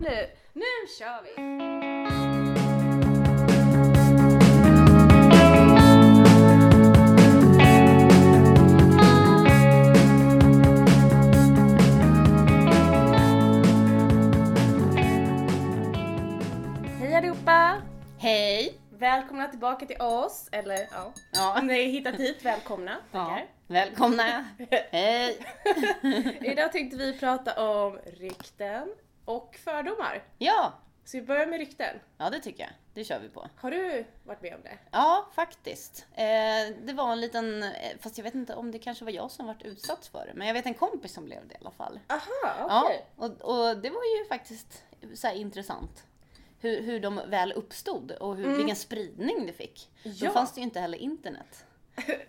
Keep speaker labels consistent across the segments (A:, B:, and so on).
A: Nu, nu kör vi! Hej allihopa!
B: Hej!
A: Välkomna tillbaka till oss, eller ja, om
B: Ja.
A: ni har hittat hit, välkomna!
B: ja.
A: Tackar.
B: Välkomna! Hej!
A: Idag tänkte vi prata om rykten och fördomar.
B: Ja,
A: Så vi börjar med rykten.
B: ja det tycker jag. Det kör vi på.
A: Har du varit med om det?
B: Ja, faktiskt. Eh, det var en liten, eh, fast jag vet inte om det kanske var jag som varit utsatt för det, men jag vet en kompis som blev det i alla fall.
A: Aha,
B: Ja, och, och det var ju faktiskt så här intressant. Hur, hur de väl uppstod och hur, vilken spridning det fick.
A: Mm. Ja.
B: Då fanns det ju inte heller internet.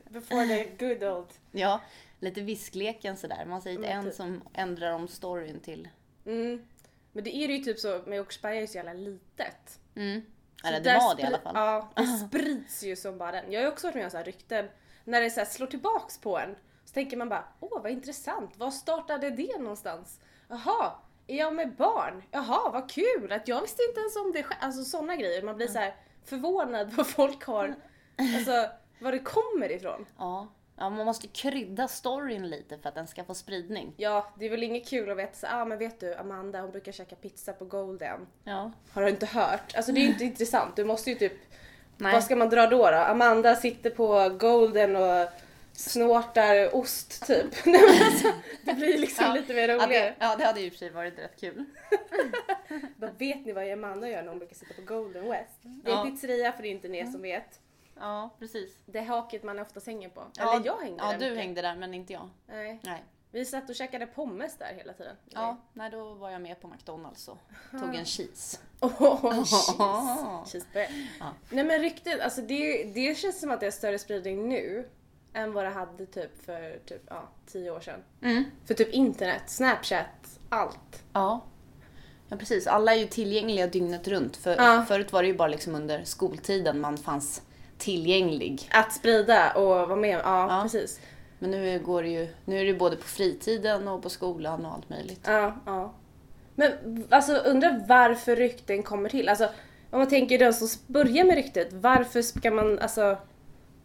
A: Before the good old.
B: Ja, lite viskleken sådär. Man säger
A: Men
B: en
A: typ.
B: som ändrar om storyn till...
A: Mm. Men det är ju typ så, med Åkersberga är ju så jävla litet.
B: Mm.
A: Så
B: Eller
A: där
B: det var det i
A: spri-
B: alla fall.
A: Ja, det sprids ju som bara den. Jag har ju också varit med om så här rykten, när det så här slår tillbaks på en. Så tänker man bara, åh vad intressant, var startade det någonstans? Jaha, är jag med barn? Jaha, vad kul att jag visste inte ens om det själv. Alltså sådana grejer, man blir så här förvånad vad folk har, alltså var det kommer ifrån.
B: Ja. ja, man måste krydda storyn lite för att den ska få spridning.
A: Ja, det är väl inget kul att veta så ah men vet du Amanda hon brukar käka pizza på Golden.
B: Ja.
A: Har du inte hört? Alltså det är ju inte intressant. Du måste ju typ...
B: Nej.
A: Vad ska man dra då då? Amanda sitter på Golden och snortar ost typ. Nej, men alltså, det blir liksom lite mer
B: ja,
A: roligare.
B: det, ja, det hade ju i och för sig varit rätt kul.
A: Vad vet ni vad Amanda gör när hon brukar sitta på Golden West? Det är
B: Ja. Mm.
A: en pizzeria för det är inte ni som vet.
B: Ja, precis.
A: Det är haket man oftast hänger på.
B: Ja,
A: Eller jag hängde
B: Ja,
A: där
B: du
A: mycket.
B: hängde där men inte jag.
A: Nej.
B: Nej.
A: Vi satt och käkade pommes där hela tiden.
B: Ja, nej då var jag med på McDonalds och tog en cheese.
A: Åh,
B: Åh.
A: cheese. Cheeseburger.
B: Ja.
A: Nej men ryktet, alltså det, det känns som att det är större spridning nu än vad det hade typ för typ, ja, tio år sedan. För typ internet, snapchat, allt.
B: Ja. ja, precis. Alla är ju tillgängliga dygnet runt. För,
A: Ja.
B: Förut var det ju bara liksom under skoltiden man fanns tillgänglig.
A: Att sprida och vara med, ja,
B: Ja.
A: precis.
B: Men nu går det ju, nu är det ju både på fritiden och på skolan och allt möjligt.
A: Ja, ja. Men alltså undrar varför rykten kommer till. Alltså om man tänker den som börjar med ryktet, varför ska man, alltså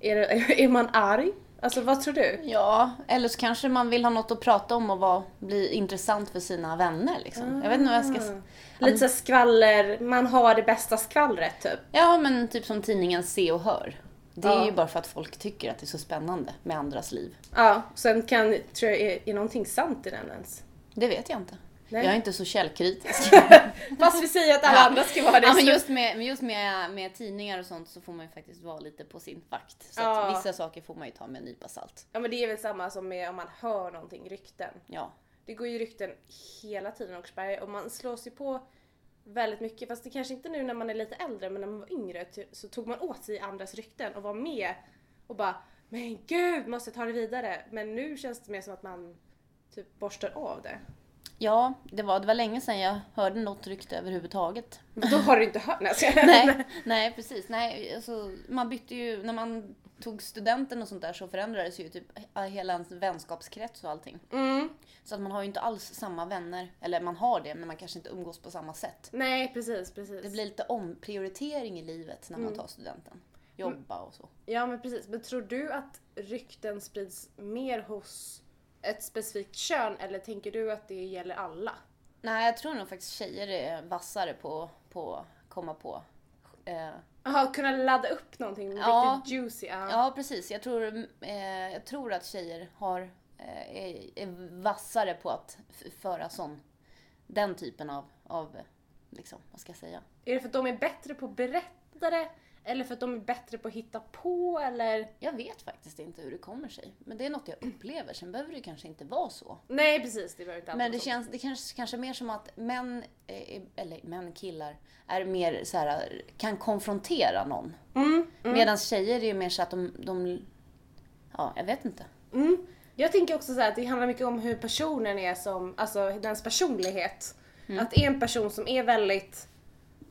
A: är, det, är man arg? Alltså vad tror du?
B: Ja, eller så kanske man vill ha något att prata om och vara, bli intressant för sina vänner. Liksom. Jag vet inte vad jag ska... s-
A: Lite såhär skvaller, man har det bästa skvallret typ.
B: Ja, men typ som tidningen Se och Hör. Det är
A: Ja.
B: ju bara för att folk tycker att det är så spännande med andras liv.
A: Ja, sen kan, tror jag, är, är någonting sant i den ens?
B: Det vet jag inte.
A: Nej.
B: Jag är inte så källkritisk.
A: Fast vi säger att alla andra ska vara det.
B: ja, men
A: så-
B: just med, men just med, med tidningar och sånt så får man ju faktiskt vara lite på sin vakt. Så att
A: Ja.
B: vissa saker får man ju ta med en nypa salt.
A: ja men det är väl samma som med om man hör någonting, rykten.
B: Ja.
A: Det går ju rykten hela tiden i Åkersberga och man slås ju på väldigt mycket. Fast det kanske inte nu när man är lite äldre men när man var yngre ty- så tog man åt sig andras rykten och var med och bara Men gud, måste ta det vidare. Men nu känns det mer som att man typ borstar av det.
B: Ja, det var, det var länge sedan jag hörde något rykte överhuvudtaget.
A: Men då har du inte hört, nej, jag skojar.
B: nej, nej precis. Nej, alltså, man bytte ju, när man tog studenten och sånt där så förändrades ju typ hela ens vänskapskrets och allting.
A: Mm,
B: Så att man har ju inte alls samma vänner. Eller man har det, men man kanske inte umgås på samma sätt.
A: nej precis, precis.
B: Det blir lite omprioritering i livet när man tar studenten. Jobba och så.
A: Ja men precis, men tror du att rykten sprids mer hos ett specifikt kön eller tänker du att det gäller alla?
B: Nej, jag tror nog faktiskt tjejer är vassare på på komma på. Eh,
A: Jaha, kunna ladda upp någonting
B: Ja.
A: riktigt juicy. Ja.
B: ja, precis. Jag tror, eh, jag tror att tjejer har, eh, är, är vassare på att f- föra sån, den typen av, av, eh, liksom, vad ska jag säga?
A: Är det för att de är bättre på berättare eller för att de är bättre på att hitta på eller?
B: Jag vet faktiskt inte hur det kommer sig. Men det är något jag upplever. Sen behöver det kanske inte vara så.
A: Nej precis, det behöver inte
B: Men det
A: känns...
B: känns det kanske, kanske mer som att män, eh, är- eller män, killar, är mer så här, kan konfrontera någon.
A: mm,
B: Medan tjejer är ju mer så att de, de ja, jag vet inte.
A: mm. Jag tänker också så här att det handlar mycket om hur personen är som, alltså dens personlighet.
B: Mm.
A: Att är en person som är väldigt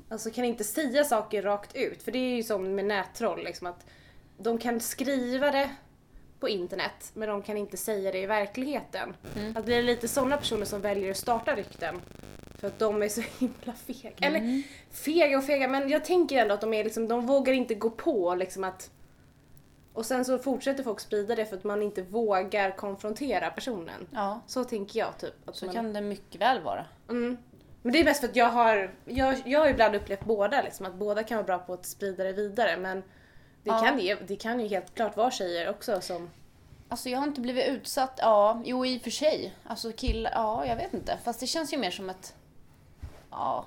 A: Alltså kan inte säga saker rakt ut. För det är ju som med nättroll liksom att de kan skriva det på internet men de
C: Mm.
A: kan inte säga det i verkligheten. Att det är lite sådana personer som väljer att starta rykten. För att de är så himla fega.
C: Mm.
A: Eller fega och fega, men jag tänker ändå att de är liksom, de vågar inte gå på liksom att... Och sen så fortsätter folk sprida det för att man inte vågar konfrontera personen.
C: Ja,
A: Så tänker jag typ. Att
C: så
A: man,
C: kan det mycket väl vara.
A: mm. Men det är mest för att jag har, jag, jag har ibland upplevt båda liksom, att båda kan vara bra på att sprida det vidare men det,
C: Ja.
A: kan, ju- det kan ju helt klart vara tjejer också som...
C: Alltså jag har inte blivit utsatt, ja, jo i och för sig. Alltså killar, ja jag vet inte. Fast det känns ju mer som ett, ja.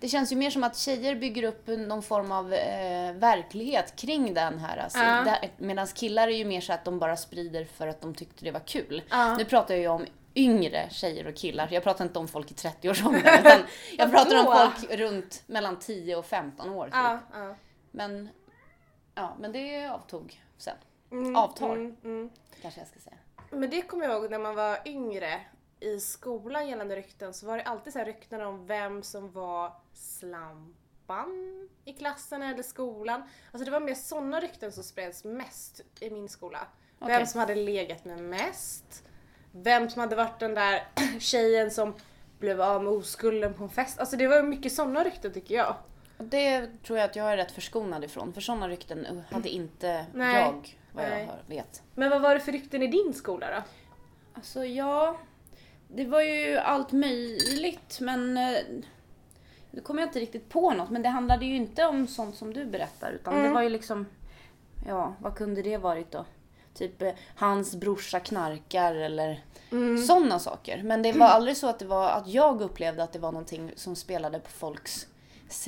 C: Det känns ju mer som att tjejer bygger upp någon form av eh, verklighet kring den här. Alltså,
A: Ja.
C: där, Medan killar är ju mer så att de bara sprider för att de tyckte det var kul.
A: Ja.
C: Nu pratar jag ju om yngre tjejer och killar. Jag pratar inte om folk i 30-årsåldern. utan jag pratar om
A: Vadå?
C: folk runt mellan 10 och 15 år. Typ.
A: Ja, ja.
C: Men, ja, men det avtog sen.
A: Mm,
C: Avtar.
A: mm, mm.
C: Kanske jag ska säga.
A: Men det kommer jag ihåg när man var yngre i skolan gällande rykten så var det alltid så här rykten om vem som var slampan i klassen eller skolan. Alltså det var mer sådana rykten som spreds mest i min skola.
C: Okej.
A: Vem som hade legat med mest. Vem som hade varit den där tjejen som blev av med oskulden på en fest. Alltså det var mycket sådana rykten tycker jag.
C: Och Det tror jag att jag är rätt förskonad ifrån. För sådana rykten uh, hade inte
A: Nej.
C: jag, vad
A: Nej.
C: jag hör, vet.
A: Men vad var det för rykten i din skola då?
B: Alltså ja, det var ju allt möjligt men eh, nu kommer jag inte riktigt på något men det handlade ju inte om sånt som du berättar utan
A: Mm.
B: det var ju liksom, ja vad kunde det varit då? Typ eh, hans brorsa knarkar eller
A: Mm.
B: sådana saker. Men det var aldrig så att det var att jag upplevde att det var någonting som spelade på folks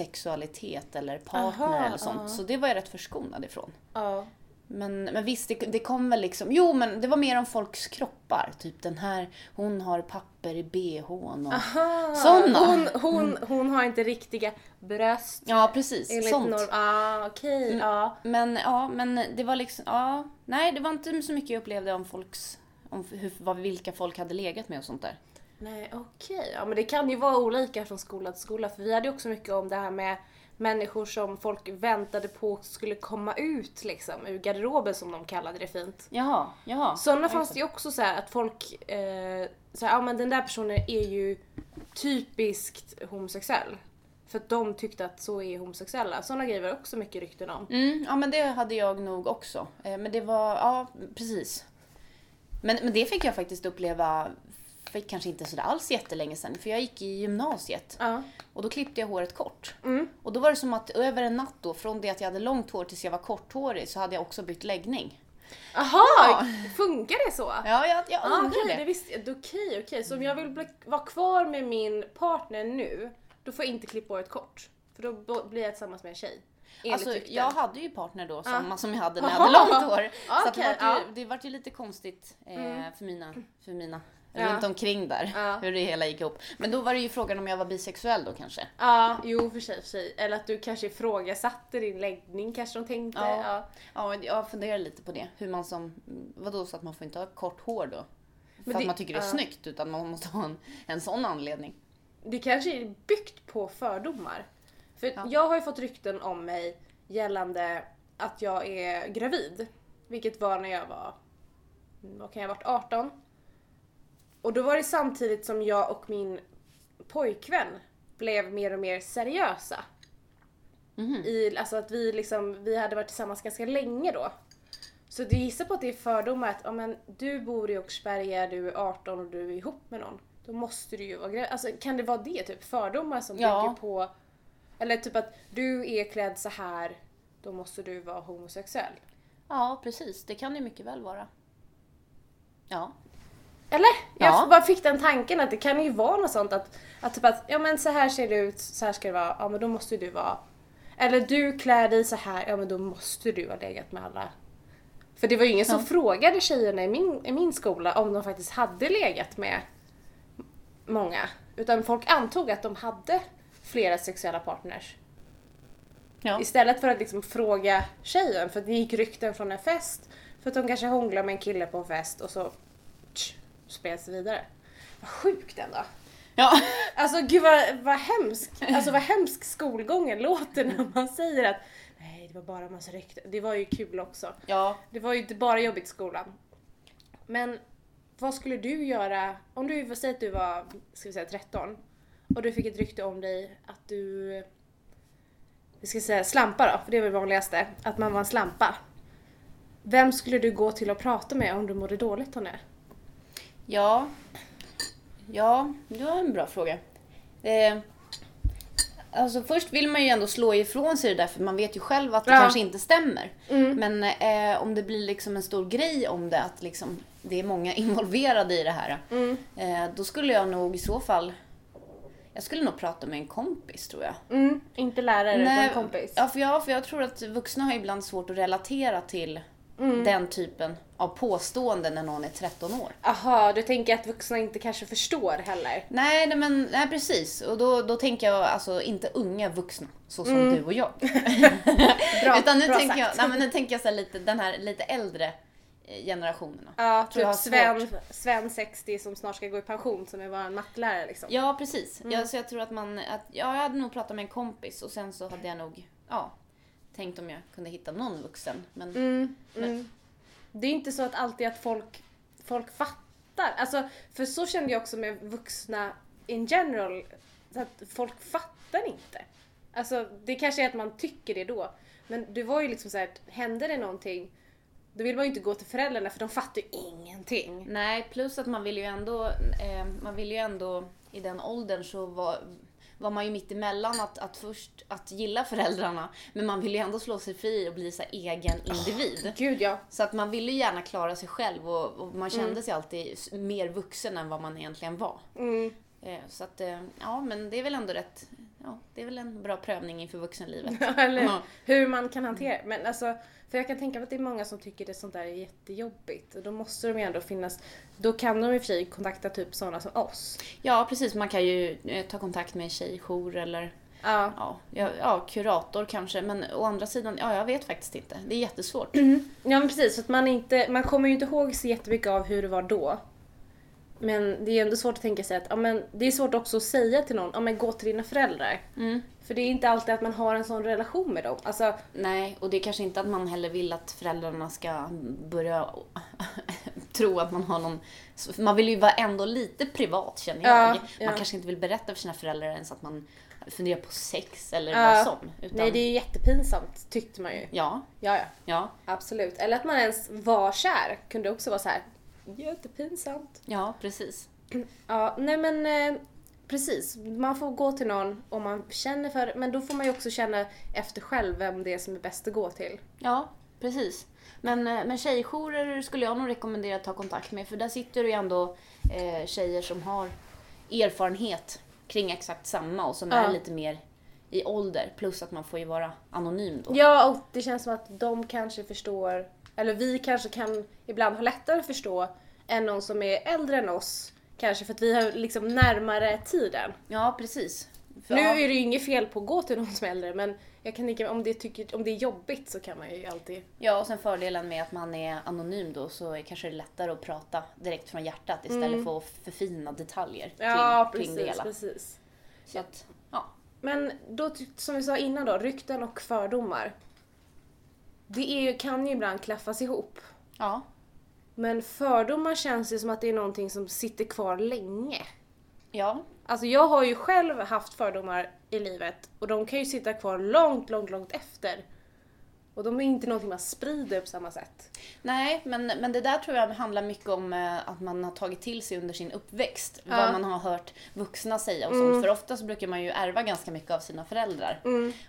B: sexualitet eller partner
A: Aha,
B: eller sånt.
A: ja.
B: Så det var jag rätt förskonad ifrån.
A: Ja.
B: Men, men visst, det, det kom väl liksom... Jo, men det var mer om folks kroppar. Typ den här, hon har papper i bhn och...
A: Ah,
B: Såna.
A: Hon, hon, hon har inte riktiga bröst.
B: Ja, precis.
A: Enligt
B: Sånt.
A: norm. Ah, okej. Ja.
B: Men ja, men det var liksom... Ja, nej, det var inte så mycket jag upplevde om folks... Om hur, vad, vilka folk hade legat med och sånt där.
A: Nej, okej. Ja, men det kan ju vara olika från skola till skola. För vi hade ju också mycket om det här med människor som folk väntade på skulle komma ut liksom ur garderoben som de kallade det fint.
B: Jaha, jaha.
A: Sådana fanns det ju också så här att folk, eh, så här, ja men den där personen är ju typiskt homosexuell. För att de tyckte att så är homosexuella. Sådana grejer var det också mycket rykten om.
B: Mm, ja, men det hade jag nog också. Eh, Men det var... Ja, precis. Men, men det fick jag faktiskt uppleva för kanske inte sådär alls jättelänge sedan. För jag gick i gymnasiet.
A: Ja.
B: Och då klippte jag håret kort.
A: Mm.
B: Och då var det som att över en natt då, från det att jag hade långt hår tills jag var korthårig, så hade jag också bytt läggning.
A: Aha, Funkar det så?
B: Ja, jag, jag
A: Ah,
B: undrar
A: okej, det
B: det.
A: visste jag. Okej, okej. Så om jag vill bli, vara kvar med min partner nu, då får jag inte klippa håret kort. För då bo- blir jag tillsammans med en tjej. Enligt
B: Alltså,
A: rykten.
B: jag hade ju partner då, samma som jag hade när jag
A: Aha.
B: hade långt hår. Så att
A: Okej,
B: det, vart ju,
A: ja.
B: det vart ju lite konstigt eh, för mina, för mina
A: Ja.
B: runt omkring där,
A: Ja.
B: hur det hela gick ihop. Men då var det ju frågan om jag var bisexuell då kanske.
A: Ja, jo för sig, för sig. Eller att du kanske ifrågasatte din läggning kanske de tänkte.
B: Ja.
A: Ja.
B: Ja, jag funderar lite på det. Hur man som, vadå så att man får inte ha kort hår då? För
A: det-
B: att man tycker det är
A: ja.
B: snyggt, utan man måste ha en, en sån anledning.
A: Det kanske är byggt på fördomar. För jag har ju fått rykten om mig gällande att jag är gravid. Vilket var när jag var, vad kan Mm, jag ha varit, 18? Och då var det samtidigt som jag och min pojkvän blev mer och mer seriösa. I, alltså att vi liksom, vi hade varit tillsammans ganska länge då. Så du gissar på att det är fördomar att, ja men du bor i Åkersberga, du är 18 och du är ihop med någon. Då måste du ju vara gravid. Alltså kan det vara det typ? Fördomar som
B: Ja.
A: bygger på, eller typ att du är klädd så här, då måste du vara homosexuell.
B: Ja, precis. Det kan det mycket väl vara. Ja.
A: Eller?
B: Ja.
A: Jag bara fick den tanken att det kan ju vara något sånt att, att typ att ja men så här ser det ut, så här ska det vara, ja men då måste du vara. Eller du klär dig så här, ja men då måste du ha legat med alla. För det var ju ingen som frågade tjejerna i min, i min skola om de faktiskt hade legat med många. Utan folk antog att de hade flera sexuella partners.
B: Ja.
A: Istället för att liksom fråga tjejen, för att det gick rykten från en fest, för att de kanske hånglar med en kille på en fest och så tsch, spreds det vidare. Vad sjukt ändå.
B: Ja.
A: Alltså gud vad, vad hemsk, alltså vad hemsk skolgången låter när man säger att nej det var bara massa rykten. Det var ju kul också.
B: ja.
A: Det var ju inte bara jobbigt i skolan. Men vad skulle du göra om du, säg att du var, ska vi säga 13 Och du fick ett rykte om dig att du... Vi ska säga slampa då, för det är väl det vanligaste. Att man var en slampa. Vem skulle du gå till och prata med om du mådde dåligt Tonje?
B: Ja. Ja, det var en bra fråga. Eh, alltså först vill man ju ändå slå ifrån sig det där för man vet ju själv att det
A: Ja.
B: kanske inte stämmer.
A: Mm.
B: Men eh, om det blir liksom en stor grej om det, att liksom, det är många involverade i det här.
A: Mm.
B: Eh, då skulle jag nog i så fall... Jag skulle nog prata med en kompis tror jag.
A: Mm. Inte lärare utan kompis.
B: Ja, för jag, för jag tror att vuxna har ibland svårt att relatera till
A: Mm.
B: den typen av påståenden när någon är 13 år.
A: Aha, du tänker att vuxna inte kanske förstår heller?
B: Nej, nej, men, nej precis. Och då, då tänker jag alltså inte unga vuxna, så som du och jag.
A: Mm. Bra,
B: Utan nu
A: bra
B: tänker, jag,
A: sagt.
B: nej, men nu tänker jag så här lite, den här lite äldre eh, generationerna.
A: Ja,
B: jag har
A: typ Sven,
B: svårt.
A: Sven 60 som snart ska gå i pension som är bara en mattelärare liksom.
B: Ja, precis. Ja, så jag tror att man... Att, ja, jag hade nog pratat med en kompis och sen så hade jag nog ja, tänkt om jag kunde hitta någon vuxen. Men
A: Mm, mm. Det är inte så att alltid att folk, folk fattar. Alltså, för så kände jag också med vuxna in general. Så att folk fattar inte. Alltså, det kanske är att man tycker det då. Men det var ju liksom så här, att hände det någonting då vill man ju inte gå till föräldrarna för de fattar ju ingenting.
B: nej, plus att man vill ju ändå... Eh, man vill ju ändå i den åldern så var, var man ju mitt emellan att, att först att gilla föräldrarna men man vill ju ändå slå sig fri och bli så här egen individ.
A: Gud ja.
B: Så att man ville ju gärna klara sig själv och, och man kände sig alltid s- mer vuxen än vad man egentligen var.
A: Mm.
B: Eh, Så att, eh, ja men det är väl ändå rätt, ja det är väl en bra prövning inför vuxenlivet.
A: Eller
B: Ja.
A: hur man kan hantera det. Men alltså, för jag kan tänka mig att det är många som tycker det sånt där är jättejobbigt. Och då måste de ju ändå finnas. Då kan de i och för sig kontakta typ sådana som oss.
B: Ja precis, man kan ju eh, ta kontakt med en tjejjour eller
A: Ja.
B: ja, ja, ja, kurator kanske. Men å andra sidan, ja jag vet faktiskt inte. Det är jättesvårt.
A: Ja men precis, för att man, inte, man kommer ju inte ihåg så jättemycket av hur det var då. Men det är ändå svårt att tänka sig att, ja men det är svårt också att säga till någon, ja men gå till dina föräldrar.
B: Mm.
A: För det är inte alltid att man har en sån relation med dem. Alltså,
B: Nej, och det är kanske inte att man heller vill att föräldrarna ska börja tro att man har någon... Man vill ju vara ändå lite privat känner jag.
A: Ja,
B: man
A: ja.
B: kanske inte vill berätta för sina föräldrar ens att man funderar på sex eller
A: Ja.
B: vad som. Utan,
A: nej det är ju jättepinsamt tyckte man ju.
B: Ja,
A: Ja, ja.
B: ja,
A: Absolut. Eller att man ens var kär kunde också vara så här. jättepinsamt.
B: ja precis.
A: Ja, nej men eh, precis. Man får gå till någon om man känner för det, men då får man ju också känna efter själv vem det är som är bäst att gå till.
B: Ja, precis. Men, eh, men tjejjourer skulle jag nog rekommendera att ta kontakt med för där sitter det ju ändå eh, tjejer som har erfarenhet kring exakt samma och som
A: Ja.
B: är lite mer i ålder. Plus att man får ju vara anonym då.
A: Ja, och det känns som att de kanske förstår, eller vi kanske kan ibland ha lättare att förstå än någon som är äldre än oss. Kanske för att vi har liksom närmare tiden.
B: Ja, precis. För,
A: Nu
B: ja,
A: är det ju inget fel på att gå till någon som är äldre men jag kan tänka mig om det, tycker, om det är jobbigt så kan man ju alltid...
B: ja, och sen fördelen med att man är anonym då så är kanske det lättare att prata direkt från hjärtat istället för att förfina detaljer kring, kring det hela.
A: Mm. precis.
B: Så att, ja.
A: Men då, ty- som vi sa innan då, rykten och fördomar. Det är ju, kan ju ibland klaffas ihop.
B: ja.
A: Men fördomar känns ju som att det är någonting som sitter kvar länge.
B: Ja,
A: Alltså jag har ju själv haft fördomar i livet och de kan ju sitta kvar långt, långt, långt efter. Och de är inte någonting man sprider på samma sätt.
B: Nej, men, men det där tror jag handlar mycket om eh, att man har tagit till sig under sin uppväxt.
A: Ja. Mm.
B: Vad man har hört vuxna säga och sånt. För oftast brukar man ju ärva ganska mycket av sina föräldrar.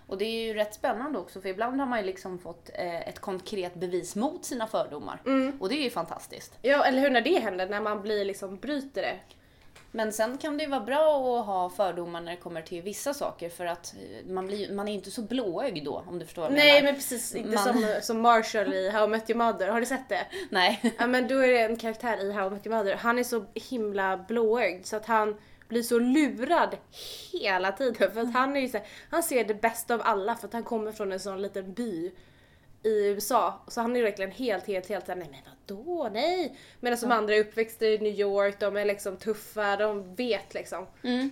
B: Och det är ju rätt spännande också för ibland har man ju liksom fått eh, ett konkret bevis mot sina fördomar.
A: Mm.
B: Och det är ju fantastiskt.
A: Ja, eller hur när det händer, när man blir liksom bryter det.
B: Men sen kan det ju vara bra att ha fördomar när det kommer till vissa saker för att eh, man, blir, man är ju inte så blåögd då om du förstår vad jag
A: Nej
B: menar.
A: men precis, inte
B: Man-
A: som, som Marshall i How I Met Your Mother, har du sett det?
B: Nej.
A: Ja men då är det en karaktär i How I Met Your Mother, han är så himla blåögd så att han blir så lurad hela tiden för att han är ju så här, han ser det bästa av alla för att han kommer från en sån liten by i USA så han är ju verkligen helt, helt, helt såhär nej men vadå, nej! Medan de andra är uppväxta i New York, de är liksom tuffa, de vet liksom.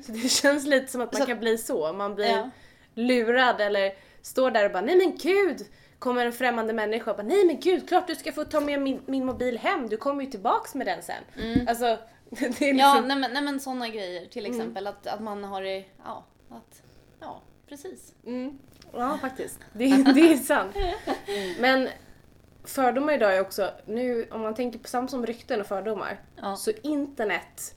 A: Så det känns lite som att man
B: Mm. Så-
A: kan bli så, man blir
B: Ja.
A: lurad eller står där och bara nej men gud! Kommer en främmande människa och bara nej men gud klart du ska få ta med min, min mobil hem, du kommer ju tillbaks med den sen. Alltså Det är liksom,
B: Ja, nej men, nej, men sådana grejer till exempel. Att, att man har det, ja, att, ja, precis.
A: Mm. Ja, faktiskt. Det, är- det är sant. Men fördomar idag är också, nu om man tänker på samt som rykten och fördomar,
B: Ja.
A: så internet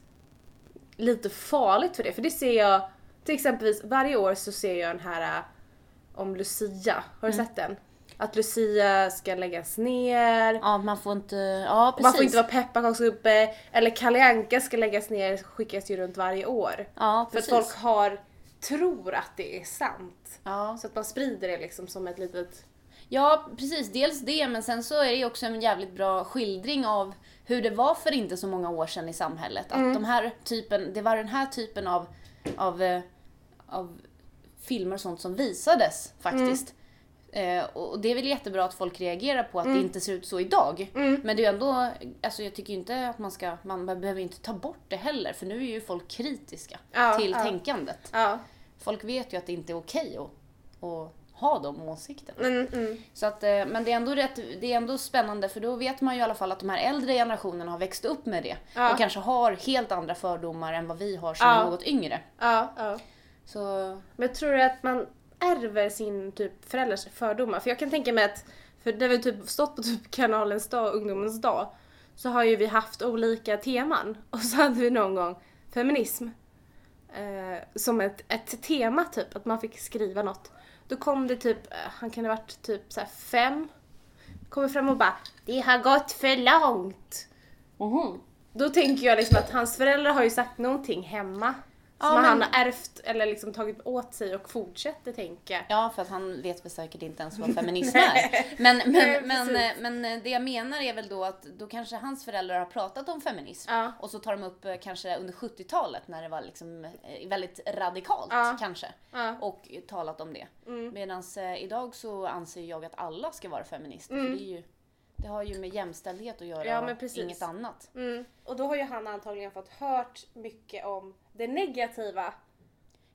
A: lite farligt för det. För det ser jag, till exempelvis varje år så ser jag den här äh, om Lucia. Har
B: Mm.
A: du sett den? Att Lucia ska läggas ner.
B: Ja, man får inte, ja precis.
A: Man får inte vara pepparkaksgubbe. Eller Kalle Anka ska läggas ner, skickas ju runt varje år.
B: Ja,
A: För att
B: precis.
A: folk har, tror att det är sant.
B: Ja.
A: Så att man sprider det liksom som ett litet...
B: ja, precis. Dels det, men sen så är det ju också en jävligt bra skildring av hur det var för inte så många år sedan i samhället. Att
A: Mm.
B: de här typen, det var den här typen av, av, eh, av filmer och sånt som visades faktiskt. Eh, och det är väl jättebra att folk reagerar på att
A: Mm.
B: det inte ser ut så idag. Men det är ju ändå, alltså jag tycker inte att man ska, man behöver inte ta bort det heller för nu är ju folk kritiska
A: Ja,
B: till
A: ja.
B: tänkandet.
A: Ja.
B: Folk vet ju att det inte är okej att, att ha de åsikterna.
A: Mm, mm.
B: Så att, eh, men det är, ändå rätt, det är ändå spännande för då vet man ju i alla fall att de här äldre generationerna har växt upp med det.
A: Ja.
B: Och kanske har helt andra fördomar än vad vi har som
A: Ja.
B: är något yngre.
A: Ja, ja.
B: Så
A: Men jag tror att man ärver sin typ föräldrars fördomar. För jag kan tänka mig att, för när vi typ stått på typ kanalens dag och ungdomens dag så har ju vi haft olika teman. Och så hade vi någon gång feminism. Eh, som ett, ett tema typ, att man fick skriva något. Då kom det typ, eh, han kan ha varit typ så här fem. Kommer fram och bara Det har gått för långt. Då tänker jag liksom att hans föräldrar har ju sagt någonting hemma. som
B: men-
A: han har ärvt eller liksom tagit åt sig och fortsätter tänka.
B: Ja, för att han vet väl säkert inte ens vad feminism är. Men, men,
A: Nej,
B: men,
A: precis.
B: men, eh, det jag menar är väl då att då kanske hans föräldrar har pratat om feminism.
A: Ja.
B: Och så tar de upp eh, kanske under 70-talet när det var liksom eh, väldigt radikalt
A: Ja.
B: kanske.
A: Ja. Mm.
B: Och talat om det. Medan idag så anser jag att alla ska vara feminister. För det, är ju, det har ju med jämställdhet att göra
A: Mm. Ja, men
B: och
A: precis.
B: inget annat.
A: Mm. Och då har ju han antagligen fått hört mycket om det negativa.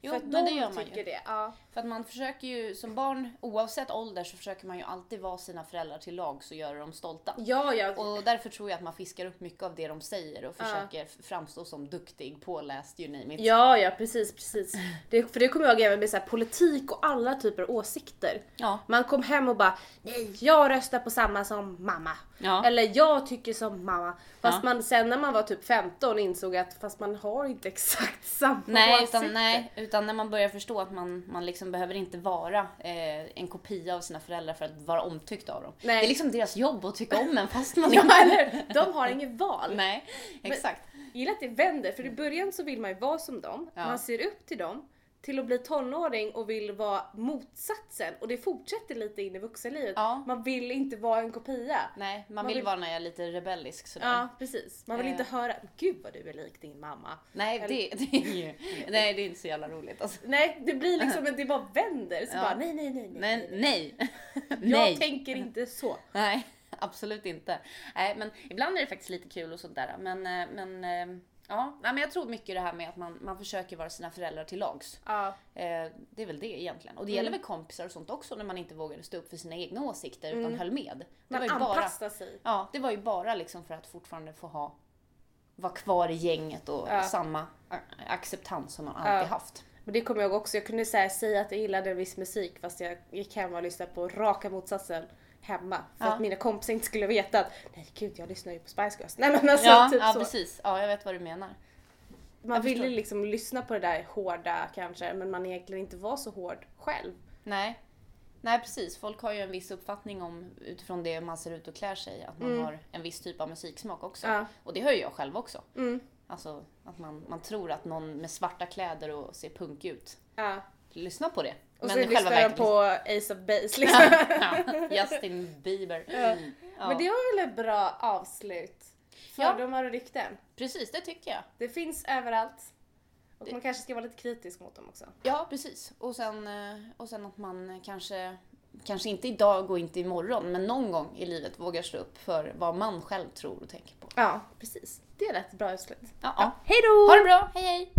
B: Jo,
A: för att
B: men
A: de
B: det gör man
A: tycker
B: ju.
A: det. Ja.
B: För att man försöker ju som barn, oavsett ålder, så försöker man ju alltid vara sina föräldrar till lag så gör dem stolta.
A: Ja, ja.
B: Och därför tror jag att man fiskar upp mycket av det de säger och försöker f- framstå som duktig, påläst, you name it.
A: ja, ja precis, precis. Det, för det kommer jag ihåg även med så här, politik och alla typer av åsikter.
B: Ja.
A: Man kom hem och bara nej, jag röstar på samma som mamma.
B: Ja.
A: Eller jag tycker som mamma. Fast
B: Ja.
A: man sen när man var typ 15 insåg att fast man har inte exakt samma
B: Nej
A: åsikter.
B: utan, nej, utan när man börjar förstå att man, man liksom behöver inte vara eh, en kopia av sina föräldrar för att vara omtyckt av dem.
A: Nej.
B: Det är liksom deras jobb att tycka om en fast man
A: Ja,
B: inte...
A: eller hur? De har inget val.
B: Nej, exakt.
A: Jag gillar att det vänder för i början så vill man ju vara som dem,
B: Ja.
A: man ser upp till dem till att bli tonåring och vill vara motsatsen och det fortsätter lite in i vuxenlivet.
B: Ja.
A: Man vill inte vara en kopia.
B: Nej, man,
A: Man
B: vill
A: vill-
B: vara när jag är lite rebellisk sådär.
A: Ja precis. Man vill
B: Eh.
A: inte höra “Gud vad du är lik din mamma”.
B: Nej, det, det är ju... Nej, det är inte så jävla roligt alltså.
A: Nej det blir liksom att det bara vänder. Så
B: Ja.
A: bara nej nej nej nej.
B: Men nej.
A: Jag
B: nej.
A: tänker inte så.
B: Nej, absolut inte. Nej, men ibland är det faktiskt lite kul och sånt där. Men, eh, men eh, ja, Nej, men jag tror mycket det här med att man, man försöker vara sina föräldrar till lags.
A: Ja.
B: Eh, Det är väl det egentligen. Och det
A: Mm.
B: gäller väl kompisar och sånt också när man inte vågade stå upp för sina egna åsikter utan höll med. Det
A: Mm. Man
B: var ju bara,
A: anpassar sig.
B: ja, det var ju bara liksom för att fortfarande få ha vara kvar i gänget och
A: Ja.
B: samma a- acceptans som man alltid haft.
A: Men det kommer jag ihåg också, jag kunde så här, säga att jag gillade en viss musik fast jag gick hem och lyssnade på raka motsatsen hemma. För
B: Ja.
A: att mina kompisar inte skulle veta att nej gud jag lyssnar ju på Spice Girls. Nej men alltså
B: ja,
A: typ
B: ja
A: så.
B: precis. Ja, jag vet vad du menar.
A: Man ville
B: förstår.
A: liksom lyssna på det där hårda kanske men man egentligen inte var så hård själv.
B: Nej. Nej precis, folk har ju en viss uppfattning om utifrån det man ser ut och klär sig att man har en viss typ av musiksmak också.
A: Mm. Ja. Mm.
B: Och det hör ju jag själv också. Alltså att man, man tror att någon med svarta kläder och ser punk ut,
A: Ja.
B: lyssna på det.
A: Och
B: i
A: så
B: själva
A: lyssnade de
B: verket-
A: på Ace of Base liksom.
B: ja, Justin Bieber. Ja.
A: Men det var väl ett bra avslut?
B: Ja.
A: Fördomar och rykten.
B: Precis, det tycker jag.
A: Det finns överallt. Och man kanske ska vara lite kritisk mot dem också.
B: Ja, precis. Och sen, eh, och sen att man kanske, kanske inte idag och inte imorgon, men någon gång i livet vågar stå upp för vad man själv tror och tänker på.
A: Ja, precis. Det lät ett bra avslut.
B: Ja, ja.
A: Hej då!
B: Ha det bra, hej hej!